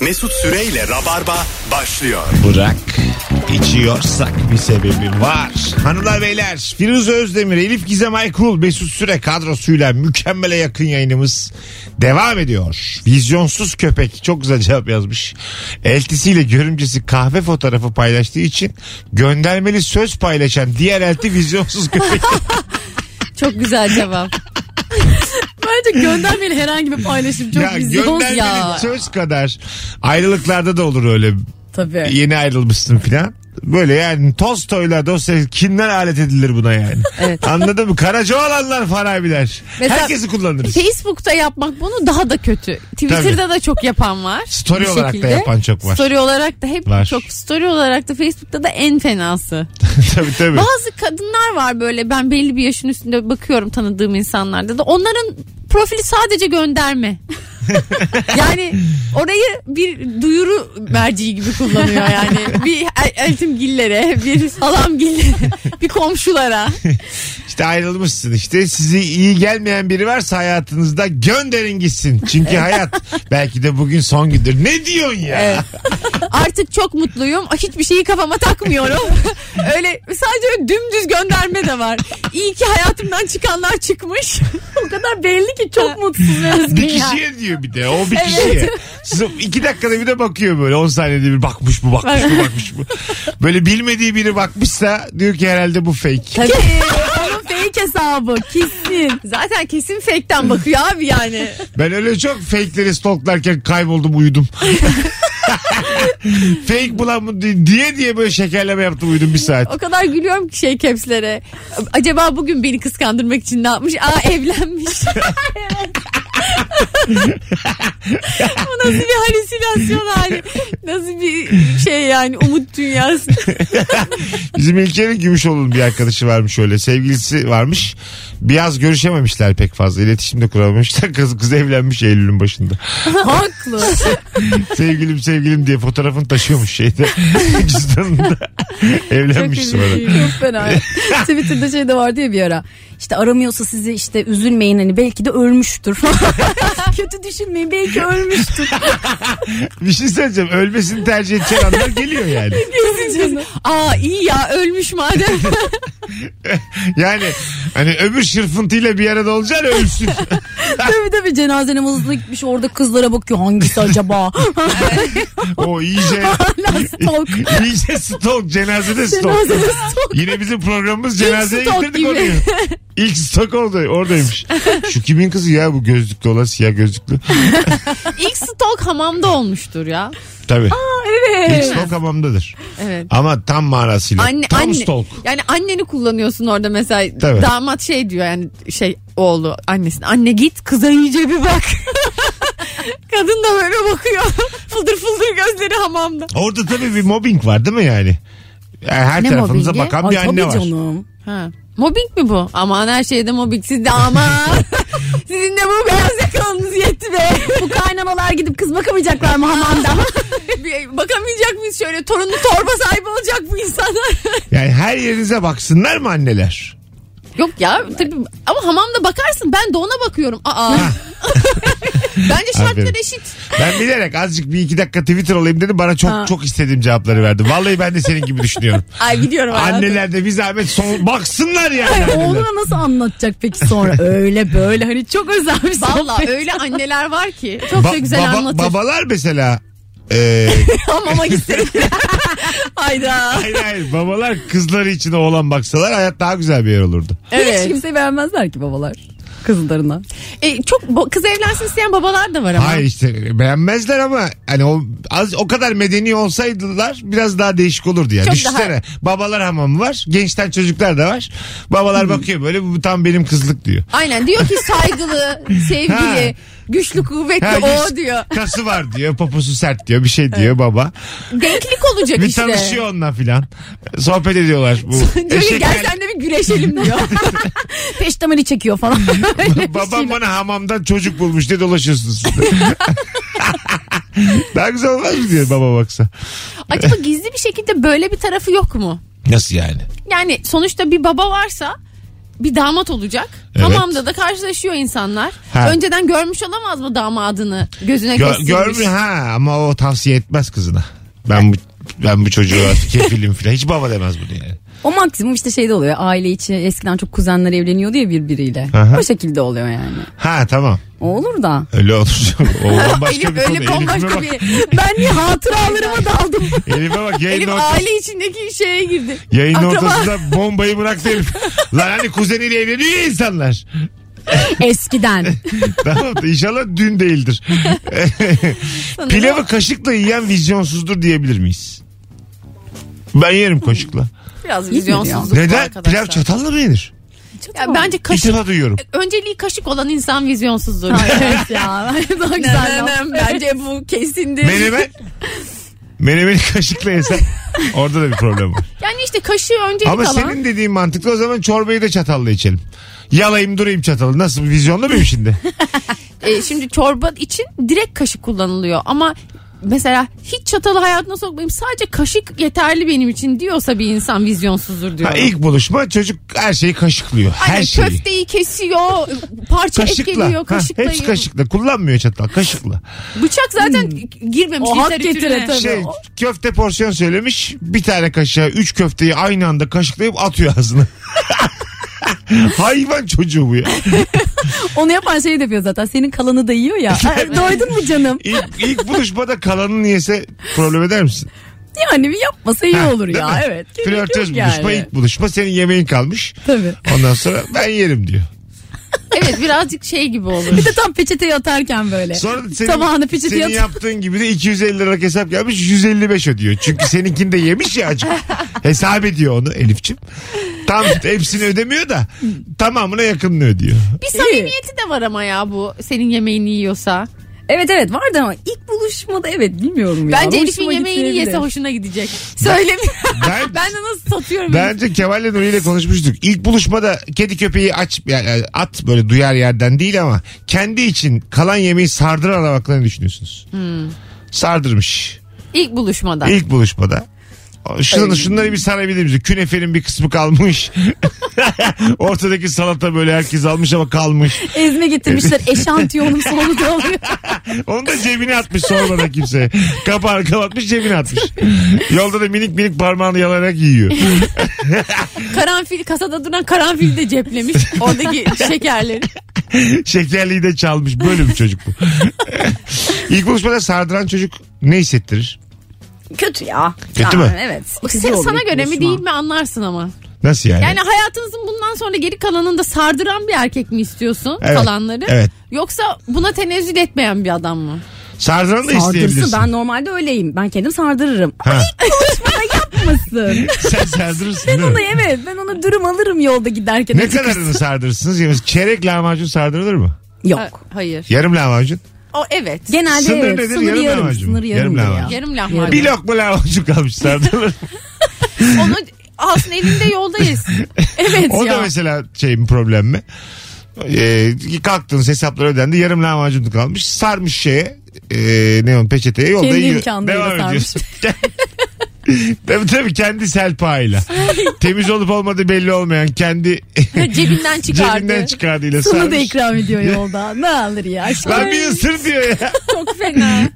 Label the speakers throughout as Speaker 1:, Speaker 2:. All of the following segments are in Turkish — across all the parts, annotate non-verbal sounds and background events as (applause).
Speaker 1: Mesut Süreyle Rabarba başlıyor.
Speaker 2: Bırak içiyorsak bir sebebi var. Hanımlar beyler Firuze Özdemir, Elif Gizem Aykul, Mesut Süre kadrosuyla mükemmele yakın yayınımız devam ediyor. Vizyonsuz köpek çok güzel cevap yazmış. Eltisiyle görümcesi kahve fotoğrafı paylaştığı için göndermeli söz paylaşan diğer elti vizyonsuz
Speaker 3: (laughs)
Speaker 2: köpek.
Speaker 3: Çok güzel (laughs) cevap. Bence göndermeli herhangi bir paylaşım çok
Speaker 2: ya
Speaker 3: vizyonsuz
Speaker 2: göndermeli
Speaker 3: ya.
Speaker 2: söz kadar ayrılıklarda da olur öyle
Speaker 3: Tabii.
Speaker 2: yeni ayrılmışsın filan. Böyle yani toz toylar dosya kimler alet edilir buna yani.
Speaker 3: Evet.
Speaker 2: Anladın mı? Karacaoğlanlar farabiler.
Speaker 3: Mesela-
Speaker 2: Herkesi kullanırız. (laughs)
Speaker 3: Facebook'ta yapmak bunu daha da kötü. Twitter'da da çok yapan var.
Speaker 2: Story
Speaker 3: Bir
Speaker 2: olarak da
Speaker 3: şekilde.
Speaker 2: yapan çok var.
Speaker 3: Story olarak da hep
Speaker 2: Var.
Speaker 3: çok story olarak da Facebook'ta da en fenası.
Speaker 2: tabii tabii.
Speaker 3: Bazı kadınlar var böyle ben belli bir yaşın üstünde bakıyorum tanıdığım insanlarda da onların profili sadece gönderme. yani orayı bir duyuru merciği gibi kullanıyor yani. Bir el- eltimgillere, bir halamgillere, bir komşulara.
Speaker 2: İşte ayrılmışsın işte. Sizi iyi gelmeyen biri varsa hayatınızda gönderin gitsin. Çünkü hayat belki de bugün son gündür. Ne diyorsun ya?
Speaker 3: Evet. Artık çok mutluyum. Hiçbir şeyi kafama takmıyorum. öyle sadece öyle dümdüz gönderme de var. İyi ki hayatımdan çıkanlar çıkmış. o kadar belli ki çok mutsuz ve üzgün
Speaker 2: Bir
Speaker 3: ya.
Speaker 2: kişiye diyor bir de. O bir kişiye. Siz iki dakikada bir de bakıyor böyle. 10 saniyede bir bakmış bu bakmış bu bakmış bu. Böyle bilmediği biri bakmışsa diyor ki herhalde bu fake.
Speaker 3: Tabii. (laughs) Onun fake hesabı kesin. Zaten kesin fake'ten bakıyor abi yani.
Speaker 2: Ben öyle çok fake'leri stalklarken kayboldum uyudum. (laughs) Fake bulan mı di- diye diye böyle şekerleme yaptım uyudum bir saat.
Speaker 3: O kadar gülüyorum ki şey capslere. Acaba bugün beni kıskandırmak için ne yapmış?
Speaker 4: (laughs)
Speaker 3: Aa evlenmiş. Evet. Bu nasıl bir halüsinasyon hali? Nasıl bir şey yani
Speaker 4: (laughs)
Speaker 3: umut dünyası?
Speaker 2: Bizim İlker'in Gümüşoğlu'nun bir arkadaşı varmış öyle. Sevgilisi varmış. Biraz görüşememişler pek fazla. İletişim de kuramamışlar. (laughs) Kız, kız evlenmiş Eylül'ün başında.
Speaker 3: Haklı.
Speaker 2: sevgilim sevgilim diye fotoğrafını taşıyormuş şeyde. (laughs)
Speaker 3: (laughs)
Speaker 2: Cüzdanında.
Speaker 3: Çok
Speaker 2: evlenmiş sonra.
Speaker 3: üzücü. Çok fena.
Speaker 4: Twitter'da şey de vardı ya bir ara. İşte aramıyorsa sizi işte üzülmeyin hani belki de
Speaker 3: (laughs)
Speaker 4: ölmüştür. Kötü düşünmeyin belki ölmüştür.
Speaker 2: Bir şey söyleyeceğim. Ölmesini tercih edeceğin anlar geliyor yani.
Speaker 3: Aa iyi ya ölmüş madem.
Speaker 2: (laughs) Yani hani öbür şırfıntıyla bir arada olacaksın ölsün.
Speaker 4: tabii tabii cenaze namazına gitmiş orada kızlara bakıyor
Speaker 2: (laughs)
Speaker 4: hangisi acaba?
Speaker 2: O
Speaker 3: (laughs)
Speaker 2: iyice
Speaker 4: stalk.
Speaker 2: (laughs) iyice stok cenazede stok.
Speaker 3: Cenazede stok.
Speaker 2: Yine bizim programımız cenazeye
Speaker 3: stalk
Speaker 2: getirdik
Speaker 3: gibi.
Speaker 2: konuyu.
Speaker 3: (laughs)
Speaker 2: İlk stok oldu oradaymış. Şu kimin kızı ya bu gözlüklü olan siyah gözlüklü.
Speaker 3: İlk stok hamamda olmuştur ya.
Speaker 2: Tabii. İlk
Speaker 3: Evet.
Speaker 2: stok hamamdadır.
Speaker 3: Evet.
Speaker 2: Ama tam manasıyla.
Speaker 3: Anne,
Speaker 2: tam
Speaker 3: anne,
Speaker 2: stok.
Speaker 3: Yani anneni kullanıyorsun orada mesela.
Speaker 2: Tabii.
Speaker 3: Damat şey diyor yani şey oğlu annesine. Anne git kıza iyice bir bak. (laughs) Kadın da böyle bakıyor. (laughs) fıldır fıldır gözleri hamamda.
Speaker 2: Orada tabii bir mobbing var değil mi yani? Yani her tarafınıza
Speaker 3: mobbingi?
Speaker 2: bakan
Speaker 4: Ay
Speaker 2: bir anne
Speaker 4: tabii
Speaker 2: var.
Speaker 4: canım.
Speaker 3: Ha. Mobbing mi bu? Aman her şeyde mobbing. Siz de aman. Sizin de bu beyaz yakalınız yetti be. (laughs)
Speaker 4: Bu kaynanalar gidip kız bakamayacaklar
Speaker 2: (laughs)
Speaker 4: mı hamamda?
Speaker 3: Bir- Bakamayacak mıyız şöyle? Torunlu torba sahibi olacak bu insanlar. (laughs)
Speaker 2: Yani her yerinize baksınlar mı anneler?
Speaker 3: Yok ya tabii ama hamamda bakarsın ben de ona bakıyorum. Aa. (laughs) Bence
Speaker 2: Aferin.
Speaker 3: şartlar eşit.
Speaker 2: Ben bilerek azıcık bir iki dakika Twitter olayım dedim. Bana çok çok istediğim cevapları verdi. Vallahi ben de senin gibi
Speaker 3: (laughs)
Speaker 2: düşünüyorum.
Speaker 3: Ay biliyorum hayatım.
Speaker 2: Anneler de bir zahmet
Speaker 3: (laughs)
Speaker 2: son, baksınlar yani. anneler.
Speaker 4: Oğluna nasıl anlatacak peki sonra? Öyle böyle hani çok özel bir
Speaker 3: Valla
Speaker 4: sohbet. (laughs)
Speaker 3: öyle anneler
Speaker 2: (laughs)
Speaker 3: var ki çok da
Speaker 2: Ba-
Speaker 3: güzel
Speaker 2: baba-
Speaker 3: anlatır.
Speaker 2: Babalar mesela
Speaker 3: (laughs)
Speaker 2: e,
Speaker 3: Hamama gitsin.
Speaker 4: (laughs)
Speaker 3: Hayda.
Speaker 2: hayır hayır babalar kızları için oğlan baksalar hayat daha güzel bir yer olurdu.
Speaker 4: Hiç
Speaker 3: Evet.
Speaker 4: kimseyi beğenmezler ki babalar kızlarına.
Speaker 3: E, çok bo- kız evlensin isteyen babalar da var ama.
Speaker 2: Hayır işte beğenmezler ama hani o az o kadar medeni olsaydılar biraz daha değişik olurdu yani.
Speaker 3: Çok
Speaker 2: Düşünsene babalar hamamı var gençten çocuklar da var. Babalar bakıyor böyle bu tam benim kızlık
Speaker 3: (laughs)
Speaker 2: diyor.
Speaker 3: Aynen diyor ki
Speaker 2: (laughs)
Speaker 3: saygılı, sevgili,
Speaker 2: Ha.
Speaker 3: güçlü, kuvvetli
Speaker 2: Ha,
Speaker 3: o
Speaker 2: yüz-
Speaker 3: diyor. (laughs)
Speaker 2: Kası var diyor poposu sert diyor bir şey diyor baba.
Speaker 3: Denklik olacak
Speaker 2: Bir
Speaker 3: işte.
Speaker 2: tanışıyor onunla filan. Sohbet ediyorlar. Bu
Speaker 3: (laughs) Diyor ki
Speaker 2: eşek
Speaker 3: gel sen de bir
Speaker 2: (laughs)
Speaker 3: güreşelim diyor.
Speaker 4: Peştemali çekiyor falan.
Speaker 3: şey
Speaker 2: Babam bana hamamdan çocuk bulmuş diye dolaşıyorsunuz. (laughs) Daha güzel olmaz mı diyor baba baksa.
Speaker 3: Acaba gizli bir şekilde böyle bir tarafı yok mu?
Speaker 2: Nasıl yani?
Speaker 3: Yani sonuçta bir baba varsa bir damat olacak.
Speaker 2: Evet.
Speaker 3: Hamamda da karşılaşıyor insanlar.
Speaker 2: Ha.
Speaker 3: Önceden görmüş olamaz mı damadını gözüne
Speaker 2: Gör,
Speaker 3: kestirmiş.
Speaker 2: görmüyor ha ama o tavsiye etmez kızına. Ben bu ben bu çocuğa kefilim filan. Hiç baba demez bunu yani.
Speaker 4: O maksimum işte şeyde oluyor. Aile içi eskiden çok kuzenler evleniyordu ya birbiriyle.
Speaker 2: Aha.
Speaker 4: O şekilde oluyor yani.
Speaker 2: Ha tamam.
Speaker 4: O olur da.
Speaker 2: Öyle
Speaker 3: (laughs)
Speaker 2: olur. O bambaşka
Speaker 3: Elif
Speaker 2: bir konu.
Speaker 3: öyle bambaşka
Speaker 2: Elif'e
Speaker 3: bir...
Speaker 2: bak.
Speaker 3: Ben niye hatıralarıma daldım?
Speaker 2: Elif'e bak yayın
Speaker 3: Elif
Speaker 2: ortası.
Speaker 3: aile içindeki şeye girdi.
Speaker 2: Yayın
Speaker 3: Akraba-
Speaker 2: ortasında bombayı bıraktı herif. Lan hani kuzeniyle evleniyor ya insanlar.
Speaker 4: Eskiden.
Speaker 2: tamam da (laughs) inşallah dün
Speaker 3: (laughs)
Speaker 2: değildir. Pilavı kaşıkla yiyen vizyonsuzdur diyebilir miyiz? Ben yerim kaşıkla.
Speaker 3: Biraz
Speaker 4: İyi
Speaker 3: vizyonsuzluk bu
Speaker 2: Neden?
Speaker 3: arkadaşlar.
Speaker 2: Pilav çatalla mı yenir?
Speaker 3: (laughs) Ya bence
Speaker 2: Kaşık.
Speaker 3: kaşık. (laughs)
Speaker 2: duyuyorum.
Speaker 3: Önceliği kaşık olan insan vizyonsuzdur.
Speaker 4: evet ya. Daha güzel. laf.
Speaker 3: (laughs) Güzel Bence bu kesindir.
Speaker 2: Menemen. Menemeni kaşıkla yesen orada da bir problem
Speaker 3: (laughs)
Speaker 2: var.
Speaker 3: Yani işte kaşığı öncelik
Speaker 2: Ama
Speaker 3: alan.
Speaker 2: senin dediğin mantıklı o zaman çorbayı da çatalla içelim. Yalayayım durayım çatalı. Nasıl vizyonlu muyum
Speaker 3: (laughs)
Speaker 2: şimdi?
Speaker 3: E, şimdi çorba için direkt kaşık kullanılıyor ama mesela hiç çatalı hayatına sokmayayım sadece kaşık yeterli benim için diyorsa bir insan vizyonsuzdur diyor.
Speaker 2: Ha, ilk buluşma çocuk her şeyi kaşıklıyor.
Speaker 3: Hani
Speaker 2: Her şeyi.
Speaker 3: köfteyi kesiyor, parça et
Speaker 2: Kaşıkla.
Speaker 3: geliyor,
Speaker 2: Ha,
Speaker 3: kaşıkla.
Speaker 2: hepsi kaşıkla. Kullanmıyor çatal. Kaşıkla.
Speaker 3: Bıçak zaten girmemiş
Speaker 4: O hak
Speaker 3: literatüre.
Speaker 4: getire tabii.
Speaker 2: Hmm. şey köfte porsiyon söylemiş. Bir tane kaşığa üç köfteyi aynı anda kaşıklayıp atıyor ağzına. (laughs) Hayvan çocuğu bu ya.
Speaker 4: Onu yapan şey de yapıyor zaten. Senin kalanı da yiyor
Speaker 3: (laughs)
Speaker 4: ya. Ay, Doydun mu canım?
Speaker 2: İlk, ilk buluşmada kalanını yese problem eder misin?
Speaker 4: Yani bir yapmasa iyi
Speaker 2: Ha,
Speaker 4: olur
Speaker 2: değil
Speaker 4: ya.
Speaker 2: mi?
Speaker 4: Evet. Gerek yok
Speaker 2: Flörtöz buluşma ilk buluşma senin yemeğin kalmış.
Speaker 4: Tabii.
Speaker 2: Ondan sonra ben yerim diyor.
Speaker 3: Evet birazcık şey gibi olur.
Speaker 4: Bir de tam peçeteyi atarken böyle.
Speaker 2: Sonra da senin,
Speaker 4: Tabağını peçeteye
Speaker 2: senin
Speaker 4: atıp
Speaker 2: yaptığın gibi de 250 liralık hesap gelmiş 155 ödüyor. Çünkü seninkini de yemiş ya acık. Hesap ediyor onu Elifçim. Tam hepsini ödemiyor da tamamına yakınını ödüyor.
Speaker 3: Bir samimiyeti de var ama ya bu senin yemeğini yiyorsa.
Speaker 4: Evet evet vardı ama ilk buluşmada evet bilmiyorum ya.
Speaker 3: Bence Elif'in
Speaker 4: Hoşuma
Speaker 3: yemeğini yese
Speaker 4: gitmeyebilir.
Speaker 3: hoşuna gidecek. Söylemiyorum.
Speaker 2: Ben-
Speaker 3: (laughs) Ben, de nasıl satıyorum.
Speaker 2: Bence Kemal'le Nuri ile konuşmuştuk. İlk buluşmada kedi köpeği aç yani at böyle duyar yerden değil ama kendi için kalan yemeği sardıran aramaklarını düşünüyorsunuz. Sardırmış.
Speaker 3: İlk buluşmada.
Speaker 2: İlk buluşmada. Şunları, şunları bir sarabilir miyiz? Künefenin bir kısmı kalmış. (laughs) Ortadaki salata böyle herkes almış ama kalmış. (laughs)
Speaker 4: Ezme getirmişler eşantiyonum sonu da oluyor.
Speaker 2: Onu da cebine atmış sormadan kimseye. Kapağını kapatmış cebine atmış. Yolda da minik minik parmağını yalarak yiyor.
Speaker 3: (laughs) Karanfil kasada duran karanfil de ceplemiş.
Speaker 2: (laughs)
Speaker 3: Oradaki şekerleri.
Speaker 2: Şekerliği de çalmış. Böyle bir çocuk bu. İlk buluşmada sardıran çocuk ne hissettirir?
Speaker 4: Kötü ya.
Speaker 2: Kötü mü?
Speaker 4: Evet.
Speaker 3: Sen, sana göre mi değil mi anlarsın ama.
Speaker 2: Nasıl yani?
Speaker 3: Yani hayatınızın bundan sonra geri kalanında sardıran bir erkek mi istiyorsun
Speaker 2: Evet,
Speaker 3: kalanları?
Speaker 2: evet.
Speaker 3: Yoksa buna tenezzül etmeyen bir adam mı?
Speaker 2: Sardıran da isteyebilirsin.
Speaker 4: Sardırsın ben normalde öyleyim. Ben kendim sardırırım.
Speaker 2: Ha,
Speaker 4: Bana
Speaker 2: (laughs)
Speaker 4: yapmasın.
Speaker 2: (laughs) sen sardırırsın
Speaker 4: ben
Speaker 2: değil mi?
Speaker 4: onu evet ben onu dürüm alırım yolda giderken.
Speaker 2: Ne
Speaker 4: açıkçası.
Speaker 2: kadarını sardırırsınız? Yani çeyrek lahmacun sardırılır mı?
Speaker 4: Yok.
Speaker 3: Ha- hayır.
Speaker 2: Yarım lahmacun?
Speaker 3: O evet.
Speaker 4: Genelde
Speaker 2: Sınır
Speaker 4: evet.
Speaker 2: nedir?
Speaker 4: Sınır
Speaker 2: Yarım
Speaker 4: yarım.
Speaker 2: lahmacun mu?
Speaker 4: Sınır
Speaker 2: Yarım
Speaker 4: yarım. ya.
Speaker 2: lahmacun.
Speaker 3: Yarım lahmacun.
Speaker 2: Bir lokma lahmacun kalmış sardırılır mı?
Speaker 3: Onu aslında elinde
Speaker 2: (laughs)
Speaker 3: yolda yesin. Evet
Speaker 2: O
Speaker 3: ya.
Speaker 2: da mesela şey mi problem mi? Ee, kalktınız hesaplar ödendi. Yarım lahmacun kalmış. Sarmış şeye. E, ne o peçeteye yolda
Speaker 4: Kendi
Speaker 2: yiyor.
Speaker 4: imkanlarıyla
Speaker 2: Devam
Speaker 4: sarmış.
Speaker 2: ediyorsun. (laughs) tabii tabii kendi selpağıyla. Temiz olup olmadığı belli olmayan
Speaker 4: (laughs)
Speaker 2: kendi
Speaker 3: Cebinden çıkardı.
Speaker 2: cebinden çıkardığıyla
Speaker 4: Sunu da
Speaker 2: sarmış. (laughs)
Speaker 4: ikram ediyor yolda. Ne alır ya? aşkım?
Speaker 2: Lan bir ısır diyor ya.
Speaker 3: Çok fena.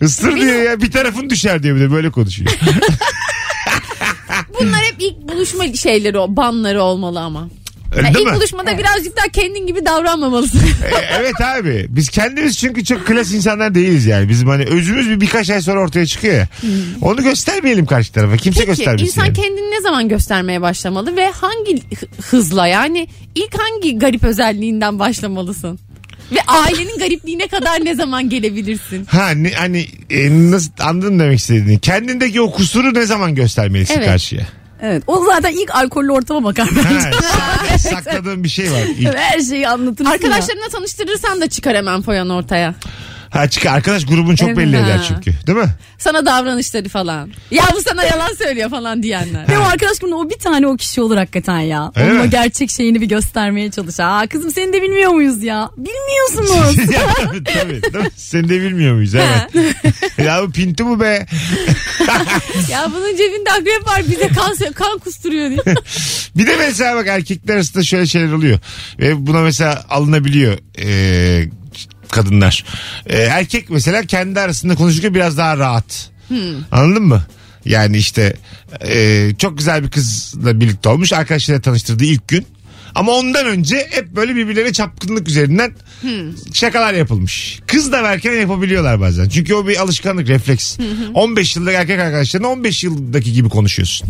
Speaker 2: Isır diyor ya. Bir tarafın düşer diyor bir de böyle konuşuyor.
Speaker 3: Bunlar hep ilk buluşma şeyleri o banları olmalı ama.
Speaker 2: Öyle değil
Speaker 3: ilk
Speaker 2: mi?
Speaker 3: buluşmada birazcık daha kendin gibi davranmamalısın.
Speaker 2: E, evet abi. Biz kendimiz çünkü çok klas insanlar değiliz yani. Bizim hani özümüz bir birkaç ay sonra ortaya çıkıyor ya. Onu göstermeyelim karşı tarafa. Kimse
Speaker 3: Hmm. Peki
Speaker 2: göstermesin.
Speaker 3: insan
Speaker 2: yani.
Speaker 3: kendini ne zaman göstermeye başlamalı ve hangi hı- hızla yani ilk hangi garip özelliğinden başlamalısın? Ve ailenin garipliğine kadar ne zaman gelebilirsin?
Speaker 2: Ha ne, hani e, nasıl anladın demek istediğini. Kendindeki o kusuru ne zaman göstermelisin
Speaker 3: Evet.
Speaker 2: karşıya?
Speaker 4: Evet. O zaten ilk alkollü ortama bakar
Speaker 3: (laughs)
Speaker 2: Ha,
Speaker 4: bence.
Speaker 2: sak- sakladığın bir şey var. İlk-
Speaker 4: (laughs) Her şeyi anlatırsın ya.
Speaker 3: Arkadaşlarına tanıştırırsan da çıkar hemen foyan ortaya.
Speaker 2: Ha çık arkadaş grubun çok
Speaker 4: Evet.
Speaker 2: belli eder
Speaker 3: Ha.
Speaker 2: çünkü. Değil mi? (laughs)
Speaker 3: Sana davranışları falan. Ya bu sana yalan söylüyor
Speaker 2: (laughs)
Speaker 3: falan diyenler.
Speaker 4: Benim arkadaş grubunda o bir tane o kişi olur hakikaten ya.
Speaker 2: Öyle
Speaker 4: Onun
Speaker 2: mi?
Speaker 4: o gerçek şeyini bir göstermeye çalış. Aa kızım seni de bilmiyor muyuz ya?
Speaker 2: (laughs)
Speaker 4: Bilmiyorsunuz.
Speaker 2: Ya, tabii, tabii, değil mi? Seni de bilmiyor muyuz? Evet. ya bu pinti bu
Speaker 3: (laughs)
Speaker 2: be.
Speaker 3: ya bunun cebinde akrep var bize kan, kan kusturuyor diye.
Speaker 2: Bir de mesela bak erkekler arasında şöyle şeyler oluyor. Ve buna mesela alınabiliyor ee, kadınlar. Ee, erkek mesela kendi arasında konuşurken biraz daha rahat. Anladın mı? Yani işte ee, çok güzel bir kızla birlikte olmuş. Arkadaşlarıyla tanıştırdığı ilk gün. Ama ondan önce hep böyle birbirlerine çapkınlık üzerinden şakalar yapılmış. Kız da verken yapabiliyorlar bazen. Çünkü o bir alışkanlık, refleks. 15 yıllık erkek arkadaşlarına 15 yıldaki gibi konuşuyorsun.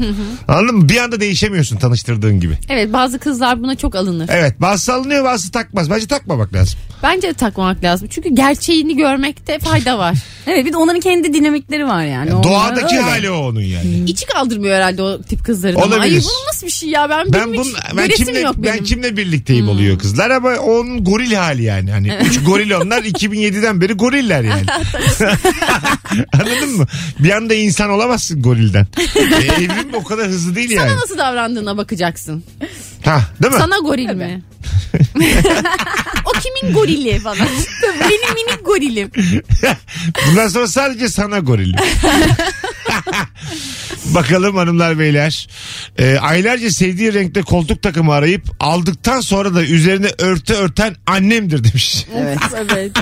Speaker 2: Anladın mı? Bir anda değişemiyorsun tanıştırdığın gibi.
Speaker 3: Evet bazı kızlar buna çok alınır.
Speaker 2: Evet bazısı alınıyor bazısı takmaz. Bence takmamak lazım.
Speaker 3: Bence de takmamak lazım. Çünkü gerçeğini görmekte fayda var.
Speaker 4: (laughs) Evet bir de onların kendi dinamikleri var yani. Onlar
Speaker 2: Doğadaki
Speaker 4: öyle.
Speaker 2: hali o onun yani.
Speaker 3: İçi kaldırmıyor herhalde o tip kızların.
Speaker 2: Olabilir.
Speaker 3: Ay bunun nasıl bir şey ya ben,
Speaker 2: Ben,
Speaker 3: benim
Speaker 2: bun,
Speaker 3: hiç
Speaker 2: ben,
Speaker 3: göresim
Speaker 2: kimle,
Speaker 3: yok benim. Hmm.
Speaker 2: ben kimle birlikteyim oluyor kızlar ama onun goril hali yani. Hani üç goril onlar
Speaker 3: (laughs)
Speaker 2: 2007'den beri goriller yani. (laughs) Anladın mı? Bir anda insan olamazsın gorilden. e, evrim o kadar hızlı değil
Speaker 3: Sana
Speaker 2: yani.
Speaker 3: nasıl davrandığına bakacaksın.
Speaker 2: Ha, değil mi?
Speaker 3: Sana goril mi? o kimin gorili (laughs) falan. Benim minik gorilim.
Speaker 2: Bundan sonra sadece sana
Speaker 3: (laughs)
Speaker 2: goril. Bakalım hanımlar beyler. Ee, aylarca sevdiği renkte koltuk takımı arayıp aldıktan sonra da üzerine örtü örten annemdir demiş.
Speaker 4: Evet.
Speaker 3: Evet.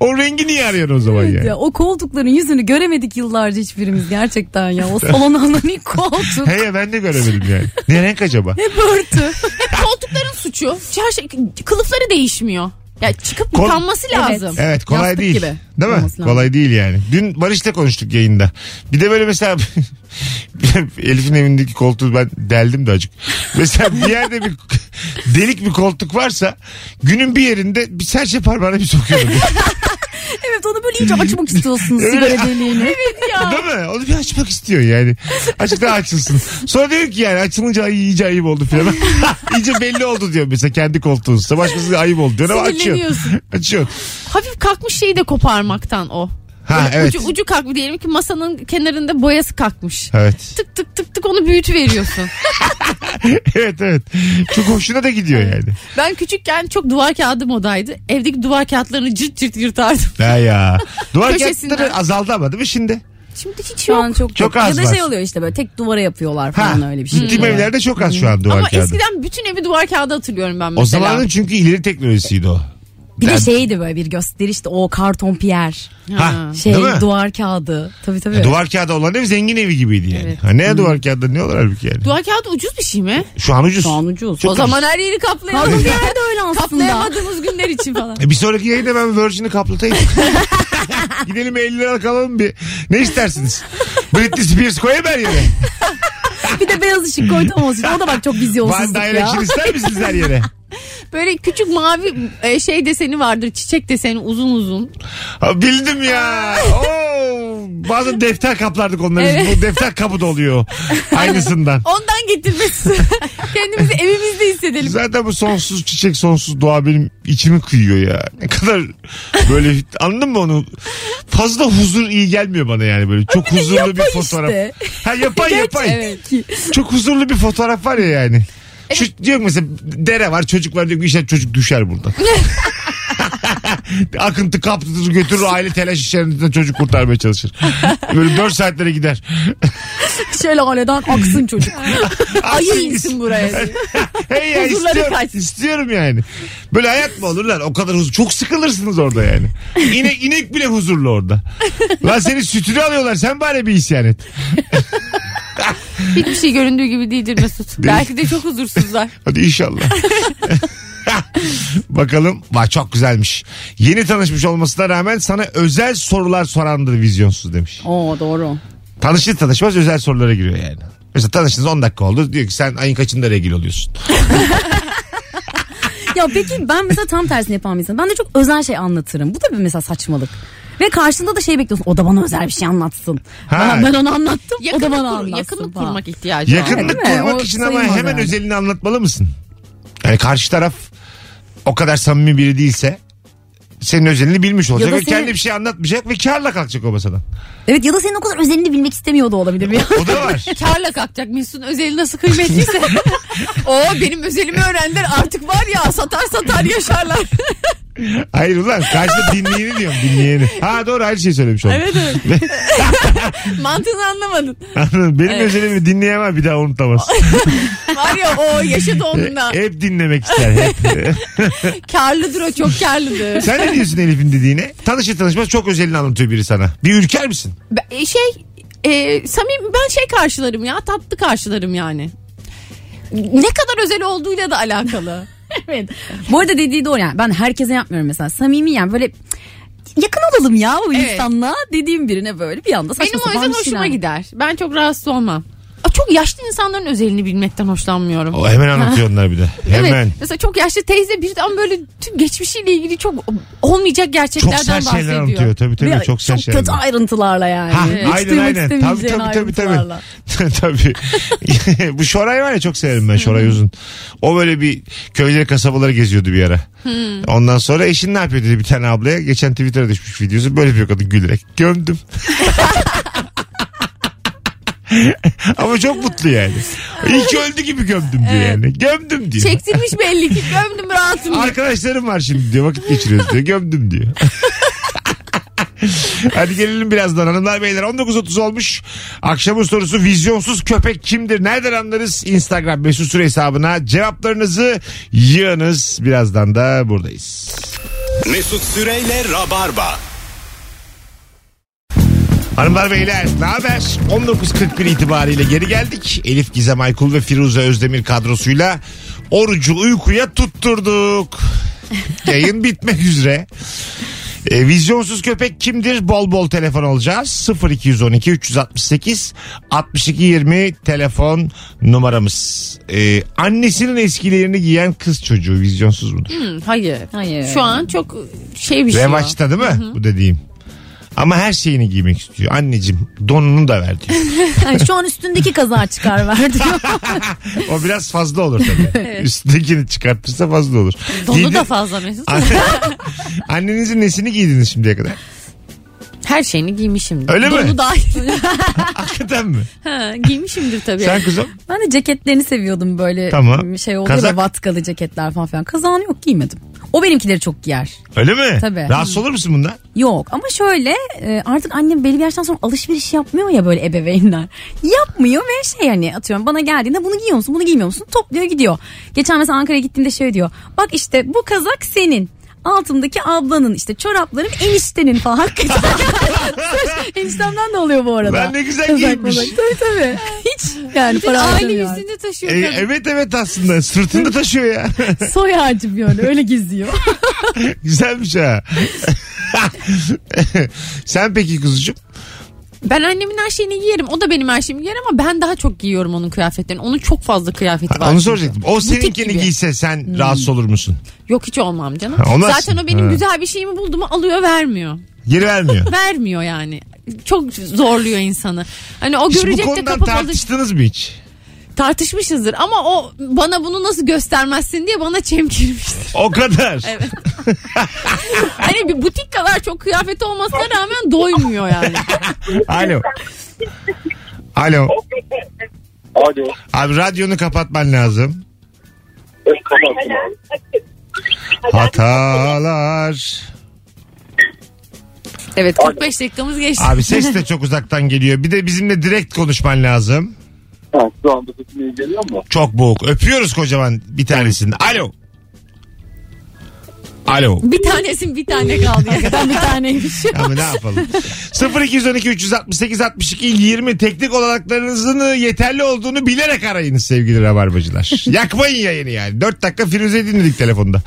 Speaker 2: o rengi niye arıyorsun o zaman
Speaker 4: Evet
Speaker 2: yani?
Speaker 4: ya, o koltukların yüzünü göremedik yıllarca hiçbirimiz gerçekten ya. O salon anonim koltuk.
Speaker 2: He ya ben de göremedim yani. Ne renk acaba?
Speaker 4: Hep örtü.
Speaker 3: Koltukların suçu. Çarşı, kılıfları değişmiyor. Ya çıkıp
Speaker 2: Kol-
Speaker 3: yıkanması lazım.
Speaker 2: Evet kolay
Speaker 4: Yastık
Speaker 2: değil.
Speaker 4: gibi
Speaker 2: Değil mi?
Speaker 4: olması lazım.
Speaker 2: Kolay değil yani. Dün Barış'la konuştuk yayında. Bir de böyle mesela (laughs) Elif'in evindeki koltuğu ben deldim de acık. Mesela bir yerde bir (laughs) delik bir koltuk varsa günün bir yerinde bir serçe parmağına bir sokuyorum.
Speaker 4: Evet onu böyle iyice açmak istiyorsunuz sigara deliğini.
Speaker 2: Değil mi? Onu bir açmak istiyor yani. Açık daha açılsın. Sonra diyor ki yani açılınca ay, iyice ayıp oldu (laughs) falan. iyice belli oldu diyor mesela kendi koltuğunuzda. Başkası ayıp oldu diyor ama açıyor.
Speaker 3: Sinirleniyorsun.
Speaker 2: Açıyor.
Speaker 3: Hafif kalkmış şeyi de koparmaktan o.
Speaker 2: Ha
Speaker 3: Böyle
Speaker 2: evet.
Speaker 3: Ucu, ucu kalkmış diyelim ki masanın kenarında boyası kalkmış.
Speaker 2: Evet.
Speaker 3: Tık tık tık tık onu
Speaker 2: (laughs)
Speaker 3: büyütü veriyorsun.
Speaker 2: evet evet. Çok hoşuna da gidiyor yani.
Speaker 3: ben küçükken çok duvar kağıdı modaydı. Evdeki duvar kağıtlarını cırt cırt yırtardım.
Speaker 2: Ha ya. Duvar
Speaker 3: Köşesinden.
Speaker 2: kağıtları azaldı ama değil mi şimdi?
Speaker 3: Şimdi hiç
Speaker 4: Şu
Speaker 3: yok.
Speaker 4: an çok,
Speaker 2: Çok az
Speaker 4: Ya da
Speaker 2: var.
Speaker 4: şey oluyor işte böyle tek duvara yapıyorlar
Speaker 2: Ha.
Speaker 4: falan öyle bir şey.
Speaker 2: Gittiğim
Speaker 4: oluyor.
Speaker 2: evlerde çok az şu an duvar
Speaker 3: Ama
Speaker 2: kağıdı.
Speaker 3: eskiden bütün evi duvar kağıdı hatırlıyorum ben mesela.
Speaker 2: O zamanın çünkü ileri teknolojisiydi o.
Speaker 4: Bir de
Speaker 2: Yani-
Speaker 4: şeydi böyle bir gösterişti o karton piyer.
Speaker 2: Ha,
Speaker 4: Şey
Speaker 2: değil mi? E,
Speaker 4: duvar kağıdı. Tabii tabii.
Speaker 2: Duvar kağıdı olan ev zengin evi gibiydi yani.
Speaker 3: Evet.
Speaker 2: Ha, ne duvar kağıdı ne olur halbuki yani.
Speaker 3: Duvar kağıdı ucuz bir şey mi?
Speaker 2: Şu an ucuz.
Speaker 4: Şu an ucuz.
Speaker 3: o zaman her yeri
Speaker 4: Kadın
Speaker 3: kaplayalım.
Speaker 4: bir yerde
Speaker 2: (laughs)
Speaker 4: öyle aslında.
Speaker 3: Kaplayamadığımız günler için (laughs) falan.
Speaker 2: E, bir sonraki yayında ben Virgin'i
Speaker 4: (laughs)
Speaker 2: kaplatayım. Gidelim 50 liralık alalım bir. Ne istersiniz? Britney Spears koyayım her yere.
Speaker 4: bir de beyaz ışık koydum olsun. O da bak çok
Speaker 2: Van
Speaker 4: vizyonsuzluk ya.
Speaker 2: Direction ister misiniz her yere?
Speaker 3: Böyle küçük mavi e, şey deseni vardır. Çiçek deseni uzun uzun.
Speaker 2: Ha, bildim ya. Oo, bazen defter kaplardık onları. Bu defter kapı
Speaker 4: (laughs)
Speaker 2: doluyor. Aynısından.
Speaker 3: Ondan
Speaker 2: (laughs)
Speaker 3: getirmesi. Kendimizi evimizde hissedelim.
Speaker 2: Zaten bu sonsuz çiçek sonsuz doğa benim içimi kıyıyor ya. Ne kadar böyle anladın mı onu? Fazla huzur iyi gelmiyor bana yani böyle. Çok huzurlu bir
Speaker 4: yapay
Speaker 2: fotoğraf.
Speaker 4: işte.
Speaker 2: Ha yapay yapay.
Speaker 4: Evet.
Speaker 2: Çok huzurlu bir fotoğraf var ya yani. Şu diyor ki mesela dere var çocuk var diyor ki işte çocuk düşer buradan. (laughs) Akıntı kaptırır götürür aile telaş içerisinde çocuk kurtarmaya çalışır. Böyle 4 saatlere gider.
Speaker 4: Şöyle haneden aksın çocuk.
Speaker 3: (laughs)
Speaker 2: Aksın
Speaker 4: (laughs) Ayı
Speaker 2: gitsin.
Speaker 4: insin buraya.
Speaker 2: Hey ya
Speaker 4: Huzurları
Speaker 2: istiyorum,
Speaker 4: kaçsın.
Speaker 2: istiyorum yani. Böyle hayat mı olur lan? O kadar huzur. Çok sıkılırsınız orada yani. İnek, inek bile huzurlu orada. lan senin sütünü alıyorlar. Sen bari bir isyan et.
Speaker 3: Hiçbir şey göründüğü gibi değildir Mesut. Belki de çok huzursuzlar.
Speaker 2: Hadi (laughs) inşallah. Bakalım. Vay çok güzelmiş. Yeni tanışmış olmasına rağmen sana özel sorular sorandır vizyonsuz demiş.
Speaker 4: Oo doğru.
Speaker 2: Tanışır tanışmaz özel sorulara giriyor yani. Mesela tanıştınız 10 dakika oldu. Diyor ki sen ayın kaçında regil oluyorsun.
Speaker 4: Ya peki ben mesela tam tersini yapan bir insanım. Ben de çok özel şey anlatırım. Bu da bir mesela saçmalık. Ve karşında da şey bekliyorsun. O da bana özel bir şey anlatsın.
Speaker 2: Ha.
Speaker 4: Ben, ben onu anlattım. o da
Speaker 3: Yakınlık,
Speaker 4: bana
Speaker 3: kur-
Speaker 4: anlatsın.
Speaker 3: yakınlık
Speaker 4: falan.
Speaker 3: kurmak ihtiyacı var.
Speaker 2: Yakınlık
Speaker 4: Değil mi?
Speaker 2: kurmak
Speaker 4: O
Speaker 2: için ama
Speaker 4: sayılmaz
Speaker 2: hemen
Speaker 4: yani.
Speaker 2: özelini anlatmalı mısın? Yani karşı taraf o kadar samimi biri değilse senin özelini bilmiş olacak
Speaker 4: da
Speaker 2: ve
Speaker 4: seni-
Speaker 2: kendi bir şey anlatmayacak ve karla kalkacak o masadan.
Speaker 4: Evet ya da senin o kadar özelini bilmek istemiyor da olabilir.
Speaker 3: (laughs)
Speaker 4: ya.
Speaker 2: O da
Speaker 4: (laughs)
Speaker 2: var.
Speaker 3: Karla kalkacak Mesut'un özeli nasıl (laughs) kıymetliyse. o benim özelimi öğrendiler artık var ya satar satar yaşarlar.
Speaker 2: Hayır ulan karşıda dinleyeni diyorum dinleyeni. Ha doğru her şeyi söylemiş oldum. (laughs)
Speaker 3: evet evet. (laughs) Mantığını anlamadın. (laughs)
Speaker 2: Anladım. Benim özelimi dinleyemem bir daha unutamaz.
Speaker 3: Var ya o yaşa doğduğunda.
Speaker 2: Hep dinlemek ister. Hep.
Speaker 3: karlıdır o çok karlıdır.
Speaker 2: Sen ne diyorsun Elif'in dediğine? Tanışır tanışmaz çok özelini anlatıyor biri sana. Bir ürker misin?
Speaker 3: Ben- e, şey e, samimi ben şey karşılarım ya tatlı karşılarım yani. Ne kadar özel olduğuyla da (laughs) alakalı.
Speaker 4: evet. Bu arada dediği doğru yani. Ben herkese yapmıyorum mesela. Samimi yani böyle yakın olalım ya o
Speaker 3: Evet.
Speaker 4: insanla dediğim birine böyle bir anda saçma
Speaker 3: Benim o
Speaker 4: sapan
Speaker 3: yüzden
Speaker 4: bir
Speaker 3: hoşuma
Speaker 4: şeyler.
Speaker 3: gider. Ben çok rahatsız olmam. Aa, Çok yaşlı insanların özelini bilmekten hoşlanmıyorum.
Speaker 2: O hemen anlatıyor onlar bir de.
Speaker 3: Evet.
Speaker 2: Hemen.
Speaker 3: Mesela çok yaşlı teyze birden böyle tüm geçmişiyle ilgili çok olmayacak
Speaker 2: Çok
Speaker 3: gerçeklerden
Speaker 2: sert şeyler
Speaker 3: bahsediyor.
Speaker 2: anlatıyor. Tabii tabii
Speaker 4: Ve
Speaker 2: çok sert şeyler.
Speaker 4: kötü ayrıntılarla yani.
Speaker 2: Ha,
Speaker 4: Hiç
Speaker 2: aynen
Speaker 4: duymak
Speaker 2: aynen. Tabii
Speaker 4: istemeyeceğin
Speaker 2: tabii tabii
Speaker 4: ayrıntılarla.
Speaker 2: tabii. (laughs) tabii. (laughs) Bu Şoray var ya çok severim ben Şoray Uzun. O böyle bir köyleri kasabaları geziyordu bir ara.
Speaker 4: Hmm.
Speaker 2: Ondan sonra eşin ne yapıyor dedi bir tane ablaya. Geçen Twitter'a düşmüş videosu. Böyle bir kadın gülerek.
Speaker 4: (laughs)
Speaker 2: Gömdüm. (laughs) Ama çok mutlu yani. İlk öldü gibi gömdüm diyor yani. Gömdüm diyor.
Speaker 3: Çektirmiş belli ki gömdüm rahatım.
Speaker 2: Arkadaşlarım var şimdi diyor vakit geçiriyoruz diyor. Gömdüm (laughs) diyor. Hadi gelelim birazdan hanımlar beyler 19.30 olmuş. Akşamın sorusu vizyonsuz köpek kimdir? Nereden anlarız? Instagram mesut süre hesabına cevaplarınızı yığınız. Birazdan da buradayız.
Speaker 1: Mesut Süreyle Rabarba.
Speaker 2: Hanımlar beyler ne haber? 19.41 itibariyle geri geldik. Elif Gizem Aykul ve Firuze Özdemir kadrosuyla orucu uykuya tutturduk. Yayın bitmek üzere. E, vizyonsuz köpek kimdir? Bol bol telefon alacağız. 0212 368 62 20 telefon numaramız. E, annesinin eskilerini giyen kız çocuğu vizyonsuz mudur?
Speaker 3: Hayır.
Speaker 4: Hayır.
Speaker 3: Şu an çok şey bir şey. o.
Speaker 2: Revaçta değil mi bu dediğim? Ama her şeyini giymek istiyor. Anneciğim donunu da ver diyor.
Speaker 4: Yani şu an üstündeki kazağı çıkar verdi.
Speaker 2: (laughs) O biraz fazla olur
Speaker 3: (laughs)
Speaker 2: tabii. Üstündekini çıkartırsa fazla olur.
Speaker 3: Donu
Speaker 2: Giydi- (laughs)
Speaker 3: da fazla Mesut.
Speaker 2: Annenizin nesini giydiniz şimdiye
Speaker 3: (laughs)
Speaker 2: kadar?
Speaker 3: Her şeyini giymişimdir.
Speaker 2: Öyle mi?
Speaker 3: Donu dahil.
Speaker 2: Hakikaten mi?
Speaker 3: Ha, giymişimdir tabii.
Speaker 2: Sen kızım?
Speaker 4: ben de ceketlerini seviyordum böyle
Speaker 2: Tamam.
Speaker 4: şey oluyor
Speaker 2: Kazak.
Speaker 4: ya vatkalı ceketler falan filan. Kazağını yok giymedim. O benimkileri çok giyer.
Speaker 2: Öyle mi?
Speaker 4: Tabii.
Speaker 2: Rahatsız olur musun
Speaker 3: (laughs)
Speaker 2: bundan?
Speaker 4: Yok ama şöyle e, artık annem belli bir yaştan sonra alışveriş yapmıyor ya böyle ebeveynler. Yapmıyor ve şey hani atıyorum bana geldiğinde bunu giyiyor musun bunu giymiyor musun topluyor gidiyor. Geçen mesela Ankara'ya gittiğimde şey diyor. Bak işte bu kazak senin. Altındaki ablanın işte çorapların eniştenin falan. (laughs) Hakikaten. Eniştemden de oluyor bu arada.
Speaker 2: Lan ne güzel
Speaker 4: Kazak
Speaker 2: giymiş.
Speaker 4: malak. Tabii tabii. Hiç yani
Speaker 3: Bir de
Speaker 4: para
Speaker 3: aile
Speaker 4: harcamıyor.
Speaker 3: yüzünde taşıyor.
Speaker 2: E,
Speaker 3: kadın.
Speaker 2: evet evet aslında sırtında taşıyor ya. (laughs)
Speaker 4: Soy ağacı bir öyle öyle geziyor.
Speaker 2: Güzelmiş ha. (laughs) Sen peki kuzucuğum?
Speaker 3: Ben annemin her şeyini giyerim. O da benim her şeyimi giyer ama ben daha çok giyiyorum onun kıyafetlerini. Onun çok fazla kıyafeti var.
Speaker 2: Onu
Speaker 3: çünkü.
Speaker 2: soracaktım. O
Speaker 3: Butik
Speaker 2: seninkini
Speaker 3: gibi. Hmm.
Speaker 2: giyse sen rahatsız olur musun?
Speaker 3: Yok hiç olmam canım.
Speaker 2: Ha, olmazsın.
Speaker 3: Zaten o benim
Speaker 2: Ha.
Speaker 3: güzel bir şeyimi buldu mu alıyor vermiyor.
Speaker 2: Geri
Speaker 3: (laughs)
Speaker 2: vermiyor.
Speaker 3: Vermiyor yani. Çok zorluyor insanı. Hani o
Speaker 2: Hiç bu
Speaker 3: görecek de
Speaker 2: konudan
Speaker 3: kapak alır.
Speaker 2: tartıştınız mı hiç?
Speaker 3: Tartışmışızdır ama o bana bunu nasıl göstermezsin diye bana çemkirmiştir.
Speaker 2: O kadar.
Speaker 3: (laughs) Evet. hani bir butik kadar çok kıyafeti olmasına rağmen
Speaker 4: (laughs)
Speaker 3: doymuyor yani.
Speaker 2: Alo. Alo.
Speaker 5: Alo.
Speaker 2: Abi radyonu kapatman lazım.
Speaker 5: Ben kapattım
Speaker 2: Hatalar.
Speaker 3: (laughs) Evet 45 dakikamız geçti.
Speaker 2: Abi ses de çok uzaktan geliyor. Bir de bizimle direkt konuşman lazım.
Speaker 5: abi. Şu anda tutmaya geliyor mu?
Speaker 2: Çok boğuk. Öpüyoruz kocaman bir tanesini. Alo. Alo.
Speaker 3: Bir tanesin bir tane kaldı.
Speaker 4: Hakikaten bir taneymiş.
Speaker 2: Ama ne yapalım? 0212 368 62 20 teknik olanaklarınızın yeterli olduğunu bilerek arayınız sevgili rabarbacılar. Yakmayın yayını yani. 4 dakika Firuze dinledik telefonda.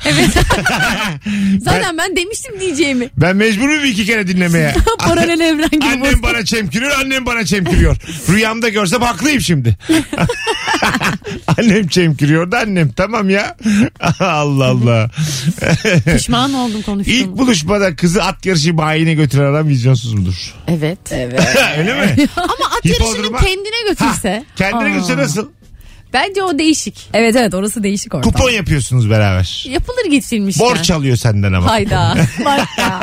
Speaker 3: Zaten ben demiştim diyeceğimi.
Speaker 2: Ben mecburum iki kere dinlemeye.
Speaker 4: Paralel evren gibi.
Speaker 2: Annem bana çemkiriyor, annem bana çemkiriyor. Rüyamda görsem haklıyım şimdi. annem çemkiriyordu annem. Tamam ya. (laughs) Allah Allah.
Speaker 3: Pişman oldum
Speaker 2: İlk
Speaker 3: konuştuğuma.
Speaker 2: buluşmada kızı at yarışı bayine götüren adam vizyonsuz mudur?
Speaker 3: Evet. Evet.
Speaker 2: Öyle mi?
Speaker 3: Ama at
Speaker 2: Hipodroma-
Speaker 3: yarışını kendine götürse.
Speaker 2: Kendine götürse nasıl?
Speaker 3: Bence o değişik.
Speaker 4: Evet evet orası değişik ortam.
Speaker 2: Kupon yapıyorsunuz beraber.
Speaker 3: Yapılır gitsilmiş.
Speaker 2: Borç alıyor senden ama.
Speaker 3: Hayda.
Speaker 2: (laughs)
Speaker 4: Bak ya.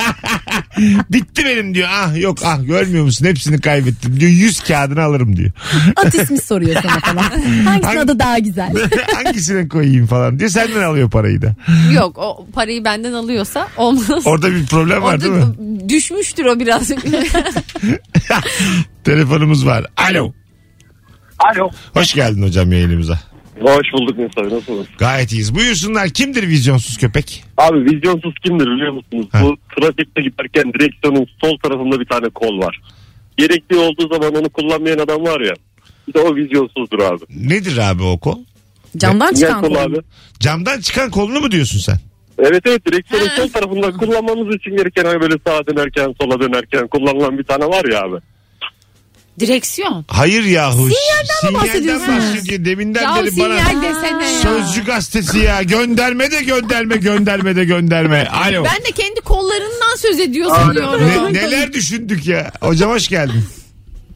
Speaker 2: Bitti benim diyor. Ah yok ah görmüyor musun hepsini kaybettim diyor. 100 kağıdını alırım diyor. (laughs)
Speaker 4: At ismi soruyor sana falan.
Speaker 2: Hangi-
Speaker 4: Hangisinin adı daha güzel?
Speaker 2: Hangisine koyayım falan diyor. Senden alıyor parayı da.
Speaker 3: Yok o parayı benden alıyorsa olmaz.
Speaker 2: Orada bir problem var değil mi?
Speaker 3: Orada düşmüştür o biraz.
Speaker 2: (laughs) Telefonumuz var. Alo.
Speaker 5: Alo.
Speaker 2: Hoş geldin hocam yayınımıza.
Speaker 5: Hoş bulduk Mesut abi nasılsınız?
Speaker 2: Gayet iyiyiz. Buyursunlar kimdir vizyonsuz köpek?
Speaker 5: Abi vizyonsuz kimdir biliyor musunuz?
Speaker 2: Ha.
Speaker 5: Bu trafikte giderken direksiyonun sol tarafında bir tane kol var. Gerekli olduğu zaman onu kullanmayan adam var ya. Bir de o vizyonsuzdur abi.
Speaker 2: Nedir abi o kol?
Speaker 4: Camdan
Speaker 5: Niye
Speaker 4: çıkan
Speaker 5: kol abi?
Speaker 4: kol.
Speaker 2: Camdan çıkan kolunu mu diyorsun sen?
Speaker 5: Evet evet direksiyonun
Speaker 3: Ha.
Speaker 5: sol tarafında kullanmamız için gereken hani böyle sağa dönerken sola dönerken kullanılan bir tane var ya abi.
Speaker 3: Direksiyon.
Speaker 2: Hayır yahu. Sinyalden
Speaker 4: mi bahsediyorsunuz?
Speaker 2: bahsediyor. Deminden
Speaker 3: Ya
Speaker 2: beri bana
Speaker 3: sinyal desene ya.
Speaker 2: sözcü gazetesi ya. Gönderme de gönderme gönderme de gönderme. Alo.
Speaker 3: Ben de kendi kollarından söz ediyorsun diyorum.
Speaker 2: Ne- neler düşündük ya? Hocam hoş geldin.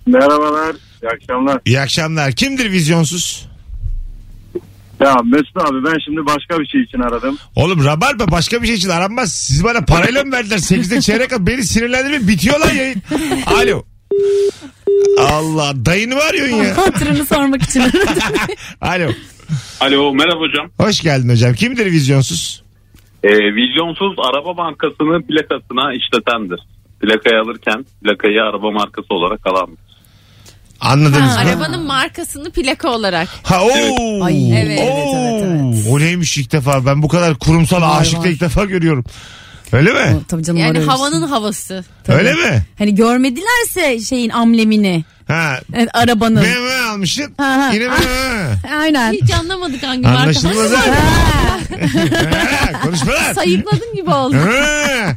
Speaker 6: Merhabalar, iyi akşamlar.
Speaker 2: İyi akşamlar. Kimdir vizyonsuz?
Speaker 6: Ya Mesut abi ben şimdi başka bir şey için aradım.
Speaker 2: Oğlum rabarba başka bir şey için aranmaz. Siz bana parayla mı verdiler? 8'de çeyrek al. Beni sinirlendirme. Bitiyor lan yayın. Alo. Allah dayını mı arıyorsun ya?
Speaker 4: (laughs) Hatırını
Speaker 2: (laughs)
Speaker 4: sormak için.
Speaker 2: Alo.
Speaker 7: Alo merhaba hocam.
Speaker 2: Hoş geldin hocam. Kimdir vizyonsuz?
Speaker 7: Ee, vizyonsuz araba bankasının plakasına işletendir. Plakayı alırken plakayı araba markası olarak alan.
Speaker 2: Anladınız mı?
Speaker 3: Arabanın markasını plaka olarak.
Speaker 2: Ha ooo.
Speaker 4: Ay, evet, evet,
Speaker 2: Oo!
Speaker 4: evet, evet.
Speaker 2: O neymiş ilk defa? Ben bu kadar kurumsal
Speaker 4: Var,
Speaker 2: aşık da
Speaker 4: var.
Speaker 2: ilk defa görüyorum. Öyle mi?
Speaker 4: Tabii canım
Speaker 3: Yani
Speaker 4: var öyle
Speaker 3: havanın
Speaker 4: bir
Speaker 3: havası.
Speaker 4: şey.
Speaker 2: Öyle
Speaker 4: Tabii.
Speaker 2: mi?
Speaker 4: Hani görmedilerse şeyin amlemini.
Speaker 2: Ha.
Speaker 4: Evet, arabanın.
Speaker 2: Meme almışsın.
Speaker 4: Ha, ha.
Speaker 2: Yine meme.
Speaker 4: (laughs) Aynen.
Speaker 3: Hiç anlamadık hangi marka.
Speaker 2: Anlaşılmaz ha.
Speaker 4: (laughs)
Speaker 2: Ha, Konuşma lan.
Speaker 3: Sayıkladın gibi oldu.
Speaker 2: Ha,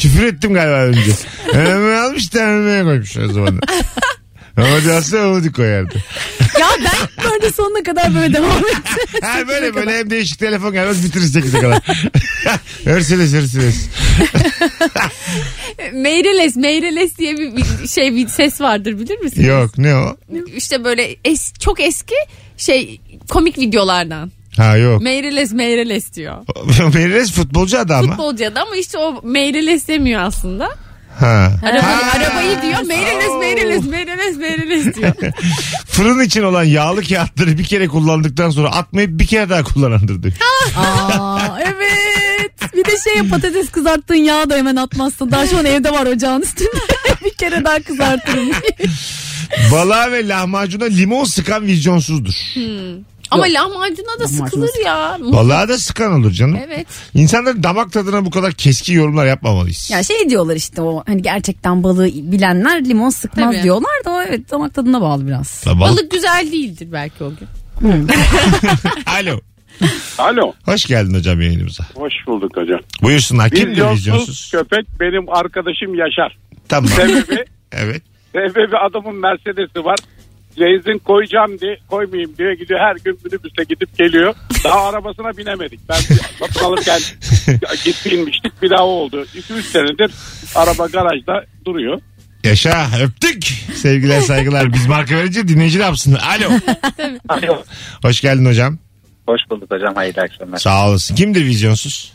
Speaker 2: Küfür ettim galiba önce. Meme almış da memeye koymuş o zaman. Ama diyorsa onu koyardı.
Speaker 4: ya ben böyle sonuna kadar böyle devam (laughs) ettim.
Speaker 2: Ha böyle böyle hem değişik telefon gelmez bitiririz 8'e kadar. Örseliz örseliz.
Speaker 3: Meyreles, meyreles diye bir, bir şey bir ses vardır bilir misin?
Speaker 2: Yok ne o?
Speaker 3: İşte böyle es, çok eski şey komik videolardan.
Speaker 2: Ha yok.
Speaker 3: Meyreles, meyreles diyor.
Speaker 2: Meriles futbolcu adı ama.
Speaker 3: Futbolcu adam ama işte o meyreles demiyor aslında.
Speaker 2: Ha.
Speaker 3: Arabayı,
Speaker 2: Ha.
Speaker 3: arabayı diyor meyreles, meyreles, meyreles, meyreles diyor.
Speaker 2: (laughs) Fırın için olan yağlı kağıtları bir kere kullandıktan sonra atmayıp bir kere daha kullanandır diyor.
Speaker 4: Aa, evet. Bir de şey ya, patates kızarttığın yağı da hemen atmazsın. Daha şu an evde var ocağın üstünde. (laughs) bir kere daha kızartırım.
Speaker 2: Balığa ve lahmacuna limon sıkan vizyonsuzdur.
Speaker 3: ama lahmacuna da sıkılır ya.
Speaker 2: Balığa da sıkan olur canım.
Speaker 3: Evet.
Speaker 2: İnsanların damak tadına bu kadar keskin yorumlar yapmamalıyız.
Speaker 4: Ya şey diyorlar işte o hani gerçekten balığı bilenler limon sıkmaz
Speaker 3: Tabii.
Speaker 4: diyorlar da o evet damak tadına bağlı biraz.
Speaker 2: La balık.
Speaker 3: Balık güzel değildir belki o gün.
Speaker 2: Alo.
Speaker 8: Alo.
Speaker 2: Hoş geldin hocam yayınımıza.
Speaker 8: Hoş bulduk hocam.
Speaker 2: Buyursunlar. Kimdir
Speaker 8: Vizyonsuz
Speaker 2: vizyonsuz?
Speaker 8: köpek benim arkadaşım Yaşar.
Speaker 2: Tamam.
Speaker 8: Sebebi,
Speaker 2: evet.
Speaker 8: sebebi adamın Mercedes'i var. Ceiz'in koyacağım diye koymayayım diye gidiyor. Her gün minibüse gidip geliyor. Daha arabasına binemedik. Ben satın alırken git binmiştik. Bir daha o oldu. 2-3 senedir araba garajda duruyor.
Speaker 2: Yaşa öptük. Sevgiler saygılar. Biz marka verince dinleyici ne yapsın? Alo. Hoş geldin hocam.
Speaker 9: Hoş bulduk hocam hayırlı akşamlar.
Speaker 2: Sağ olasın. Kimdir vizyonsuz?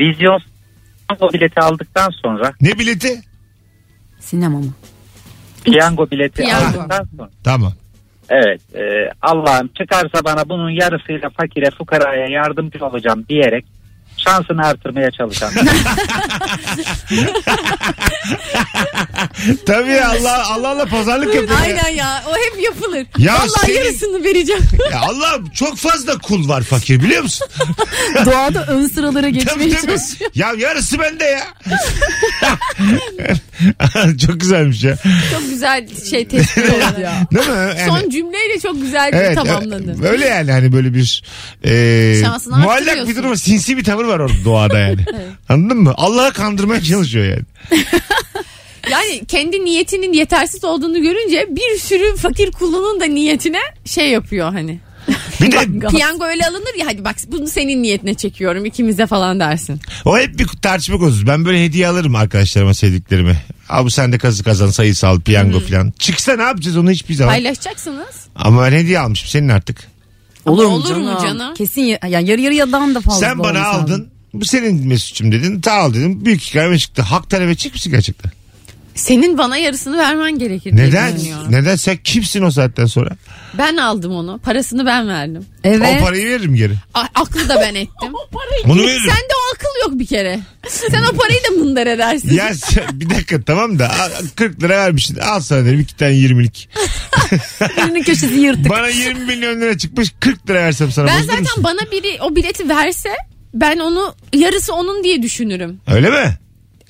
Speaker 9: Vizyon piyango bileti aldıktan sonra
Speaker 2: Ne bileti?
Speaker 4: Sinema mı?
Speaker 9: piyango bileti
Speaker 3: Piyango.
Speaker 9: aldıktan sonra
Speaker 2: Tamam.
Speaker 9: evet e, Allah'ım çıkarsa bana bunun yarısıyla fakire fukaraya yardımcı olacağım diyerek şansını artırmaya çalışan.
Speaker 2: Tabii Allah Allah Allah pazarlık yapıyor. ya.
Speaker 3: Aynen ya o hep yapılır.
Speaker 2: Ya
Speaker 3: Vallahi
Speaker 2: senin- (laughs)
Speaker 3: yarısını vereceğim.
Speaker 2: Ya Allah çok fazla kul var fakir biliyor musun?
Speaker 4: Doğada ön sıralara
Speaker 2: Tabii,
Speaker 4: geçmeye
Speaker 2: tabii.
Speaker 4: çalışıyor.
Speaker 2: Ya yarısı bende ya. (laughs) çok güzelmiş ya.
Speaker 3: Çok güzel şey tespit oldu ya.
Speaker 2: Değil mi? Yani-
Speaker 3: Son cümleyle çok güzel bir
Speaker 2: Evet,
Speaker 3: tamamladı.
Speaker 2: ö- öyle yani hani böyle bir e,
Speaker 3: Şansını
Speaker 2: muallak bir
Speaker 3: arttırıyorsun.
Speaker 2: durum var. sinsi bir tavır var orada doğada
Speaker 3: (laughs)
Speaker 2: yani. Anladın mı? Allah'a kandırmaya çalışıyor yani.
Speaker 3: Yani kendi niyetinin yetersiz olduğunu görünce bir sürü fakir kulunun da niyetine şey yapıyor hani.
Speaker 2: Bir de
Speaker 3: Piyango öyle alınır ya hadi bak bunu senin niyetine çekiyorum ikimize falan dersin.
Speaker 2: o hep bir tartışma konusu. Ben böyle hediye alırım arkadaşlarıma sevdiklerime. Abi sen de kazı kazan sayısal piyango
Speaker 3: Hmm.
Speaker 2: falan. Çıksa ne yapacağız onu hiçbir zaman.
Speaker 3: Paylaşacaksınız.
Speaker 2: Ama ben hediye almışım senin artık.
Speaker 3: Olur mu canım?
Speaker 4: Kesin ya, yani yarı yarıyadan da fazla.
Speaker 2: sen bana
Speaker 4: olmasa.
Speaker 2: aldın. Bu senin Mesut'cum dedin. Ta al dedim. Büyük ikramiye çıktı. Hak talep çık misin gerçekten?
Speaker 3: Senin bana yarısını vermen gerekir diye
Speaker 2: Neden?
Speaker 3: düşünüyorum.
Speaker 2: Neden? Sen kimsin o saatten sonra?
Speaker 3: Ben aldım onu. Parasını ben verdim.
Speaker 2: E,
Speaker 4: Evet.
Speaker 2: O parayı veririm geri.
Speaker 3: A- aklı da
Speaker 2: (laughs)
Speaker 3: ben ettim.
Speaker 2: Bunu veririm.
Speaker 3: Sende o akıl yok bir kere. Sen o parayı da mındar edersin.
Speaker 2: Ya sen- bir dakika tamam da a- 40 lira vermişsin. Al sana derim iki tane 20'lik.
Speaker 4: Birinin köşesi yırtık.
Speaker 2: Bana 20 milyon lira çıkmış 40 lira versem sana.
Speaker 3: Ben
Speaker 2: bozulur
Speaker 3: zaten
Speaker 2: musun?
Speaker 3: bana biri o bileti verse ben onu yarısı onun diye düşünürüm.
Speaker 2: Öyle mi?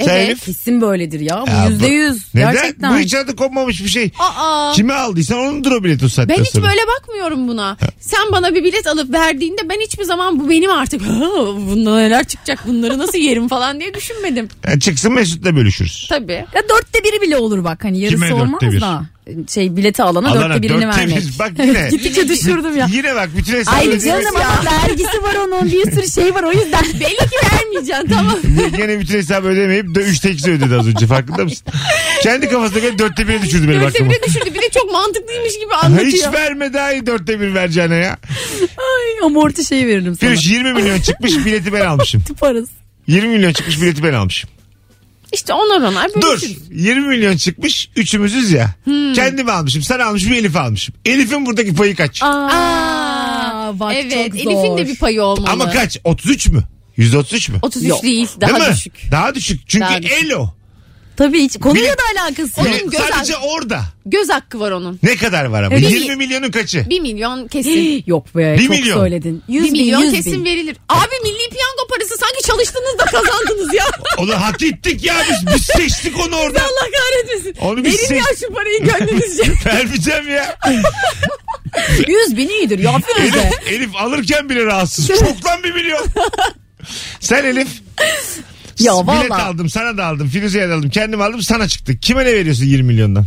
Speaker 2: Sen
Speaker 3: Evet.
Speaker 2: Elif?
Speaker 4: Kesin böyledir ya.
Speaker 2: Ya bu-
Speaker 4: Bu Yüzde yüz.
Speaker 2: Neden?
Speaker 4: Gerçekten.
Speaker 2: Bu hiç adı konmamış bir şey.
Speaker 3: Aa.
Speaker 2: Kime aldıysan onundur o bilet o saatten
Speaker 3: Ben hiç
Speaker 2: sonra.
Speaker 3: böyle bakmıyorum buna. Sen bana bir bilet alıp verdiğinde ben hiçbir zaman bu benim artık. "Ha, Bundan neler çıkacak bunları nasıl yerim falan diye düşünmedim.
Speaker 2: Yani çıksın Mesut'la bölüşürüz.
Speaker 3: Tabii.
Speaker 4: Ya dörtte biri bile olur bak hani yarısı
Speaker 2: Kime dörtte
Speaker 4: olmaz
Speaker 2: bir?
Speaker 4: da şey bileti alana,
Speaker 2: Alana
Speaker 4: dörtte birini
Speaker 2: dörtte (laughs)
Speaker 4: vermek.
Speaker 2: bir- bak
Speaker 4: (laughs)
Speaker 2: yine.
Speaker 4: Gittikçe
Speaker 2: (laughs)
Speaker 4: düşürdüm ya.
Speaker 2: Yine bak bütün hesabı.
Speaker 4: Ay canım ama vergisi var onun bir sürü şey var o yüzden. (laughs)
Speaker 3: Belli ki vermeyeceksin
Speaker 2: (laughs)
Speaker 3: tamam.
Speaker 2: Yine bütün hesabı ödemeyip de 3'te 2'si ödedi az önce farkında mısın? Kendi kafasına göre 4'te 1'e düşürdü benim
Speaker 3: Dörtte
Speaker 2: aklıma.
Speaker 3: bire düşürdü. Bir de çok mantıklıymış gibi
Speaker 2: Ha,
Speaker 3: anlatıyor.
Speaker 2: Hiç verme daha iyi 4'te 1 vereceğine ya.
Speaker 4: Ay, amorti
Speaker 2: şey
Speaker 4: şeyi veririm sana.
Speaker 2: Firuş 20 milyon çıkmış bileti ben almışım.
Speaker 4: Parası.
Speaker 2: 20 milyon çıkmış bileti ben almışım.
Speaker 3: İşte onar onar
Speaker 2: Dur
Speaker 3: bölüşürüz.
Speaker 2: 20 milyon çıkmış üçümüzüz ya.
Speaker 3: Hmm.
Speaker 2: Kendimi almışım sen almışım Elif almışım. Elif'in buradaki payı kaç?
Speaker 4: Aa, bak
Speaker 3: evet
Speaker 4: çok zor.
Speaker 3: Elif'in de bir payı olmalı.
Speaker 2: Ama kaç? 33 mü? 133 mü?
Speaker 3: 33
Speaker 4: Yok.
Speaker 3: değil
Speaker 2: Değil
Speaker 3: daha
Speaker 2: mi?
Speaker 3: düşük.
Speaker 2: Daha düşük. Çünkü
Speaker 3: Daha düşük.
Speaker 2: el o.
Speaker 4: Tabii hiç konuyla
Speaker 2: Bile-
Speaker 4: da alakası yok.
Speaker 3: Onun
Speaker 2: Bile-
Speaker 3: göz
Speaker 2: sadece orada.
Speaker 3: Göz hakkı var onun.
Speaker 2: Ne kadar var ama?
Speaker 3: Evet.
Speaker 2: 20 milyonun kaçı?
Speaker 3: 1 milyon kesin.
Speaker 4: Yok be
Speaker 2: Bir
Speaker 4: çok
Speaker 2: milyon.
Speaker 4: söyledin. 100
Speaker 3: 1
Speaker 4: bin,
Speaker 3: milyon
Speaker 4: 100 bin.
Speaker 3: kesin verilir. Abi milli piyango parası sanki çalıştınız da kazandınız ya.
Speaker 2: Onu hak ettik ya biz. Biz seçtik onu orada.
Speaker 3: Allah kahretmesin.
Speaker 2: Onu biz
Speaker 3: Verin ya
Speaker 2: seçtik.
Speaker 3: şu parayı
Speaker 2: (laughs)
Speaker 3: gönlünüzce.
Speaker 2: Vermeyeceğim ya.
Speaker 4: 100 bin iyidir ya Firuze.
Speaker 2: Elif, Elif alırken bile rahatsız. Çok lan 1 milyon. Sen Elif.
Speaker 4: Ya
Speaker 2: Bilet
Speaker 4: valla.
Speaker 2: aldım sana da aldım Firuze'ye de aldım kendim aldım sana çıktı. Kime ne veriyorsun 20 milyondan?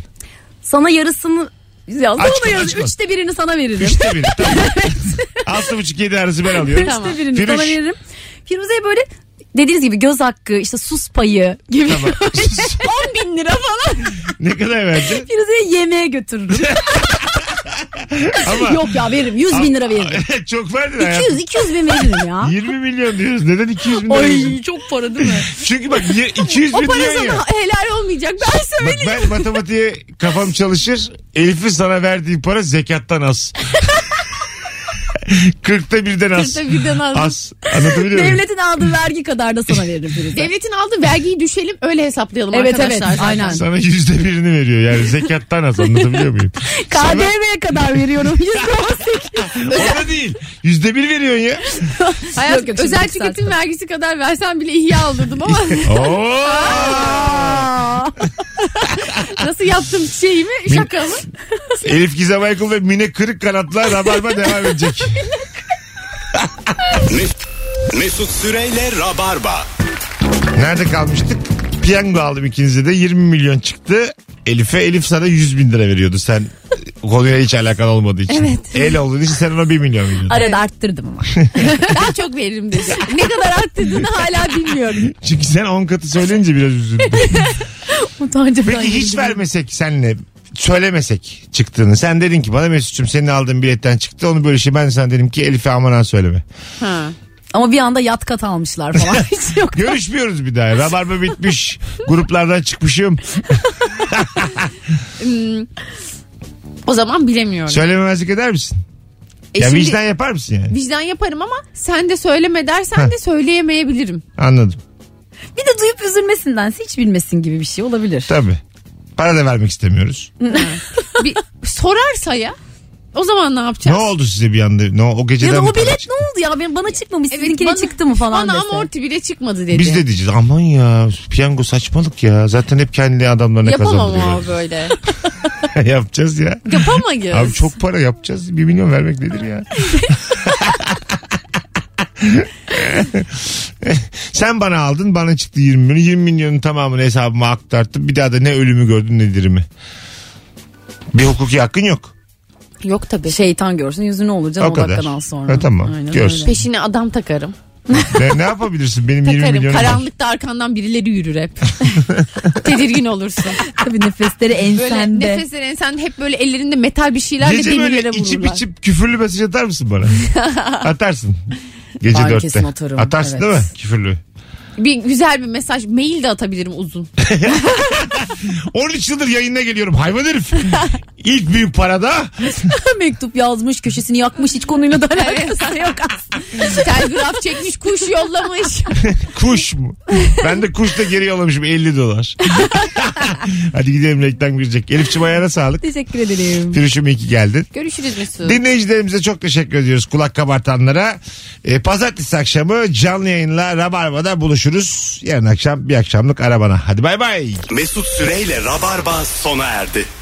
Speaker 4: Sana yarısını ya
Speaker 2: Aç bunu,
Speaker 4: sana
Speaker 2: aç
Speaker 4: yarısı.
Speaker 2: bunu.
Speaker 4: Üçte birini sana veririm.
Speaker 2: Üçte biri.
Speaker 4: (laughs)
Speaker 2: Tamam. Altı buçuk yedi arası ben alıyorum.
Speaker 3: Tamam.
Speaker 4: Üçte birini
Speaker 2: Firuş.
Speaker 4: sana veririm. Firuze'ye böyle dediğiniz gibi göz hakkı işte sus payı gibi. (laughs)
Speaker 2: Tamam.
Speaker 4: 10 bin lira falan. (laughs)
Speaker 2: ne kadar verdi?
Speaker 4: Firuze'yi yemeğe götürürüm.
Speaker 2: Ama
Speaker 4: (laughs) Yok ya veririm. 100 bin lira veririm.
Speaker 2: çok verdin hayatım.
Speaker 4: 200 200 bin
Speaker 2: (laughs)
Speaker 4: veririm ya.
Speaker 2: 20 milyon diyoruz. Neden 200 milyon? diyorsun?
Speaker 4: çok para değil (laughs) mi?
Speaker 2: Çünkü bak ye- 200
Speaker 3: O
Speaker 2: milyon
Speaker 3: para
Speaker 2: ya.
Speaker 3: sana helal olmayacak. Ben
Speaker 2: Bak
Speaker 3: söyleyeyim.
Speaker 2: ben matematiğe kafam çalışır. Elif'in sana verdiği para zekattan az. (laughs) Kırkta birden az.
Speaker 3: Kırkta birden az.
Speaker 2: Az. Anlatabiliyor muyum?
Speaker 4: Devletin aldığı vergi kadar da sana veririm Firuze.
Speaker 3: Devletin aldığı vergiyi düşelim öyle hesaplayalım
Speaker 4: Evet,
Speaker 3: arkadaşlar.
Speaker 4: evet,
Speaker 3: zaten.
Speaker 4: aynen.
Speaker 2: Sana yüzde birini veriyor yani zekattan az anlatabiliyor muyum? Sana-
Speaker 4: KDV'ye kadar veriyorum. %18.
Speaker 2: Ona değil. Yüzde bir veriyorsun ya.
Speaker 3: Hayat
Speaker 4: Yok, yok, şimdi
Speaker 3: özel
Speaker 4: yükseltti.
Speaker 3: tüketim vergisi kadar versen bile ihya olurdum
Speaker 4: (laughs)
Speaker 3: ama
Speaker 2: Oo.
Speaker 3: nasıl yaptım şeyimi şakamı.
Speaker 2: Elif Gizem Aykul ve Mine Kırık Kanatlar Rabarba devam edecek.
Speaker 1: Mes- Mesut Süreyle Rabarba.
Speaker 2: Nerede kalmıştık? Piyango aldım ikinize de 20 milyon çıktı. Elif'e Elif sana 100 bin lira veriyordu sen konuyla hiç alakan olmadığı için. El olduğun için sen ona 1 milyon veriyordun.
Speaker 4: Arada arttırdım
Speaker 2: (laughs)
Speaker 4: ama.
Speaker 3: Daha çok veririm dedi. Ne kadar arttırdığını hala bilmiyorum.
Speaker 2: Çünkü sen 10 katı söyleyince biraz
Speaker 3: (laughs)
Speaker 2: üzüldüm.
Speaker 4: Utancımdan
Speaker 2: Peki hiç
Speaker 4: girdim.
Speaker 2: vermesek senle söylemesek çıktığını. Sen dedin ki bana Mesut'cum senin aldığın biletten çıktı onu böyle şey ben sana dedim ki Elif'e aman ha söyleme.
Speaker 4: Ama bir anda yat kat
Speaker 2: (laughs)
Speaker 4: almışlar falan. hiç yok.
Speaker 2: Görüşmüyoruz bir daha. Rabarba
Speaker 3: (laughs)
Speaker 2: bitmiş. Gruplardan çıkmışım.
Speaker 3: O zaman bilemiyorum.
Speaker 2: Söylememezlik eder misin?
Speaker 3: E
Speaker 2: ya
Speaker 3: şimdi
Speaker 2: vicdan yapar mısın yani?
Speaker 3: vicdan yaparım ama sen de söyleme dersen de söyleyemeyebilirim.
Speaker 2: Anladım.
Speaker 4: Bir de duyup üzülmesindense hiç bilmesin gibi bir şey olabilir.
Speaker 2: Tabii. Para da vermek istemiyoruz.
Speaker 3: Bir sorarsa ya o zaman ne
Speaker 2: Ne
Speaker 3: yapacağız?
Speaker 2: oldu size bir anda? Ne, o geceden
Speaker 4: Ya da
Speaker 2: mi
Speaker 4: o
Speaker 2: para
Speaker 4: bilet
Speaker 2: çıktı?
Speaker 4: ne oldu ya? Benim bana çıkmamış.
Speaker 3: Evet,
Speaker 4: Sizinkine
Speaker 3: bana-
Speaker 4: çıktı mı falan
Speaker 3: Bana
Speaker 4: dese.
Speaker 3: amorti bile çıkmadı dedi.
Speaker 2: Biz de diyeceğiz aman ya piyango saçmalık ya. Zaten hep kendi adamlarına
Speaker 3: Yapamam
Speaker 2: kazandırıyorlar.
Speaker 3: ama böyle.
Speaker 2: (laughs) Yapacağız ya.
Speaker 3: (laughs) Yapamayız.
Speaker 2: Abi çok para yapacağız. Bir milyon vermek nedir
Speaker 3: (laughs)
Speaker 2: ya? Sen bana aldın bana çıktı 20 milyon. 20 milyonun tamamını hesabıma aktarttım. Bir daha da ne ölümü gördün ne dirimi. Bir hukuki hakkın yok.
Speaker 3: Yok tabii.
Speaker 4: Şeytan görsün yüzü ne olur canım
Speaker 2: O
Speaker 4: o,
Speaker 2: kadar.
Speaker 4: dakikadan sonra.
Speaker 2: Ha, tamam, görsün.
Speaker 4: öyle.
Speaker 3: Peşine adam takarım.
Speaker 2: Ne, ne yapabilirsin benim 20
Speaker 3: Takarım.
Speaker 2: milyonum var.
Speaker 3: Karanlıkta arkandan birileri yürür
Speaker 2: (laughs)
Speaker 3: hep. Tedirgin olursun.
Speaker 4: Tabii nefesleri
Speaker 3: Böyle
Speaker 4: ensende.
Speaker 3: nefesler ensen hep böyle ellerinde metal bir şeylerle
Speaker 2: Gece böyle
Speaker 3: demirlere vururlar.
Speaker 2: içip içip küfürlü mesaj atar mısın
Speaker 3: (laughs)
Speaker 2: bana? Atarsın. Gece
Speaker 4: Ben
Speaker 2: dörtte.
Speaker 4: kesin atarım,
Speaker 2: Atarsın
Speaker 4: evet.
Speaker 2: değil mi? Küfürlü.
Speaker 3: Bir güzel bir mesaj. Mail de atabilirim uzun. (laughs)
Speaker 2: 13 yıldır yayına geliyorum hayvan herif. İlk büyük parada
Speaker 4: Mektup yazmış köşesini yakmış hiç konuyla da
Speaker 3: (laughs)
Speaker 4: alakası yok aslında.
Speaker 3: Telgraf çekmiş kuş yollamış.
Speaker 2: kuş mu? Ben de kuş da geri yollamışım 50 dolar. Hadi gidelim reklam girecek. Elifçim ayağına sağlık.
Speaker 4: Teşekkür ederim.
Speaker 2: Firuşum iyi ki geldin.
Speaker 3: Görüşürüz Mesut.
Speaker 2: Dinleyicilerimize çok teşekkür ediyoruz kulak kabartanlara. Ee, pazartesi akşamı canlı yayınla Rabarba'da buluşuruz. Yarın akşam bir akşamlık arabana. Hadi bay bay.
Speaker 1: Mesut Süreyle Rabarba sona erdi.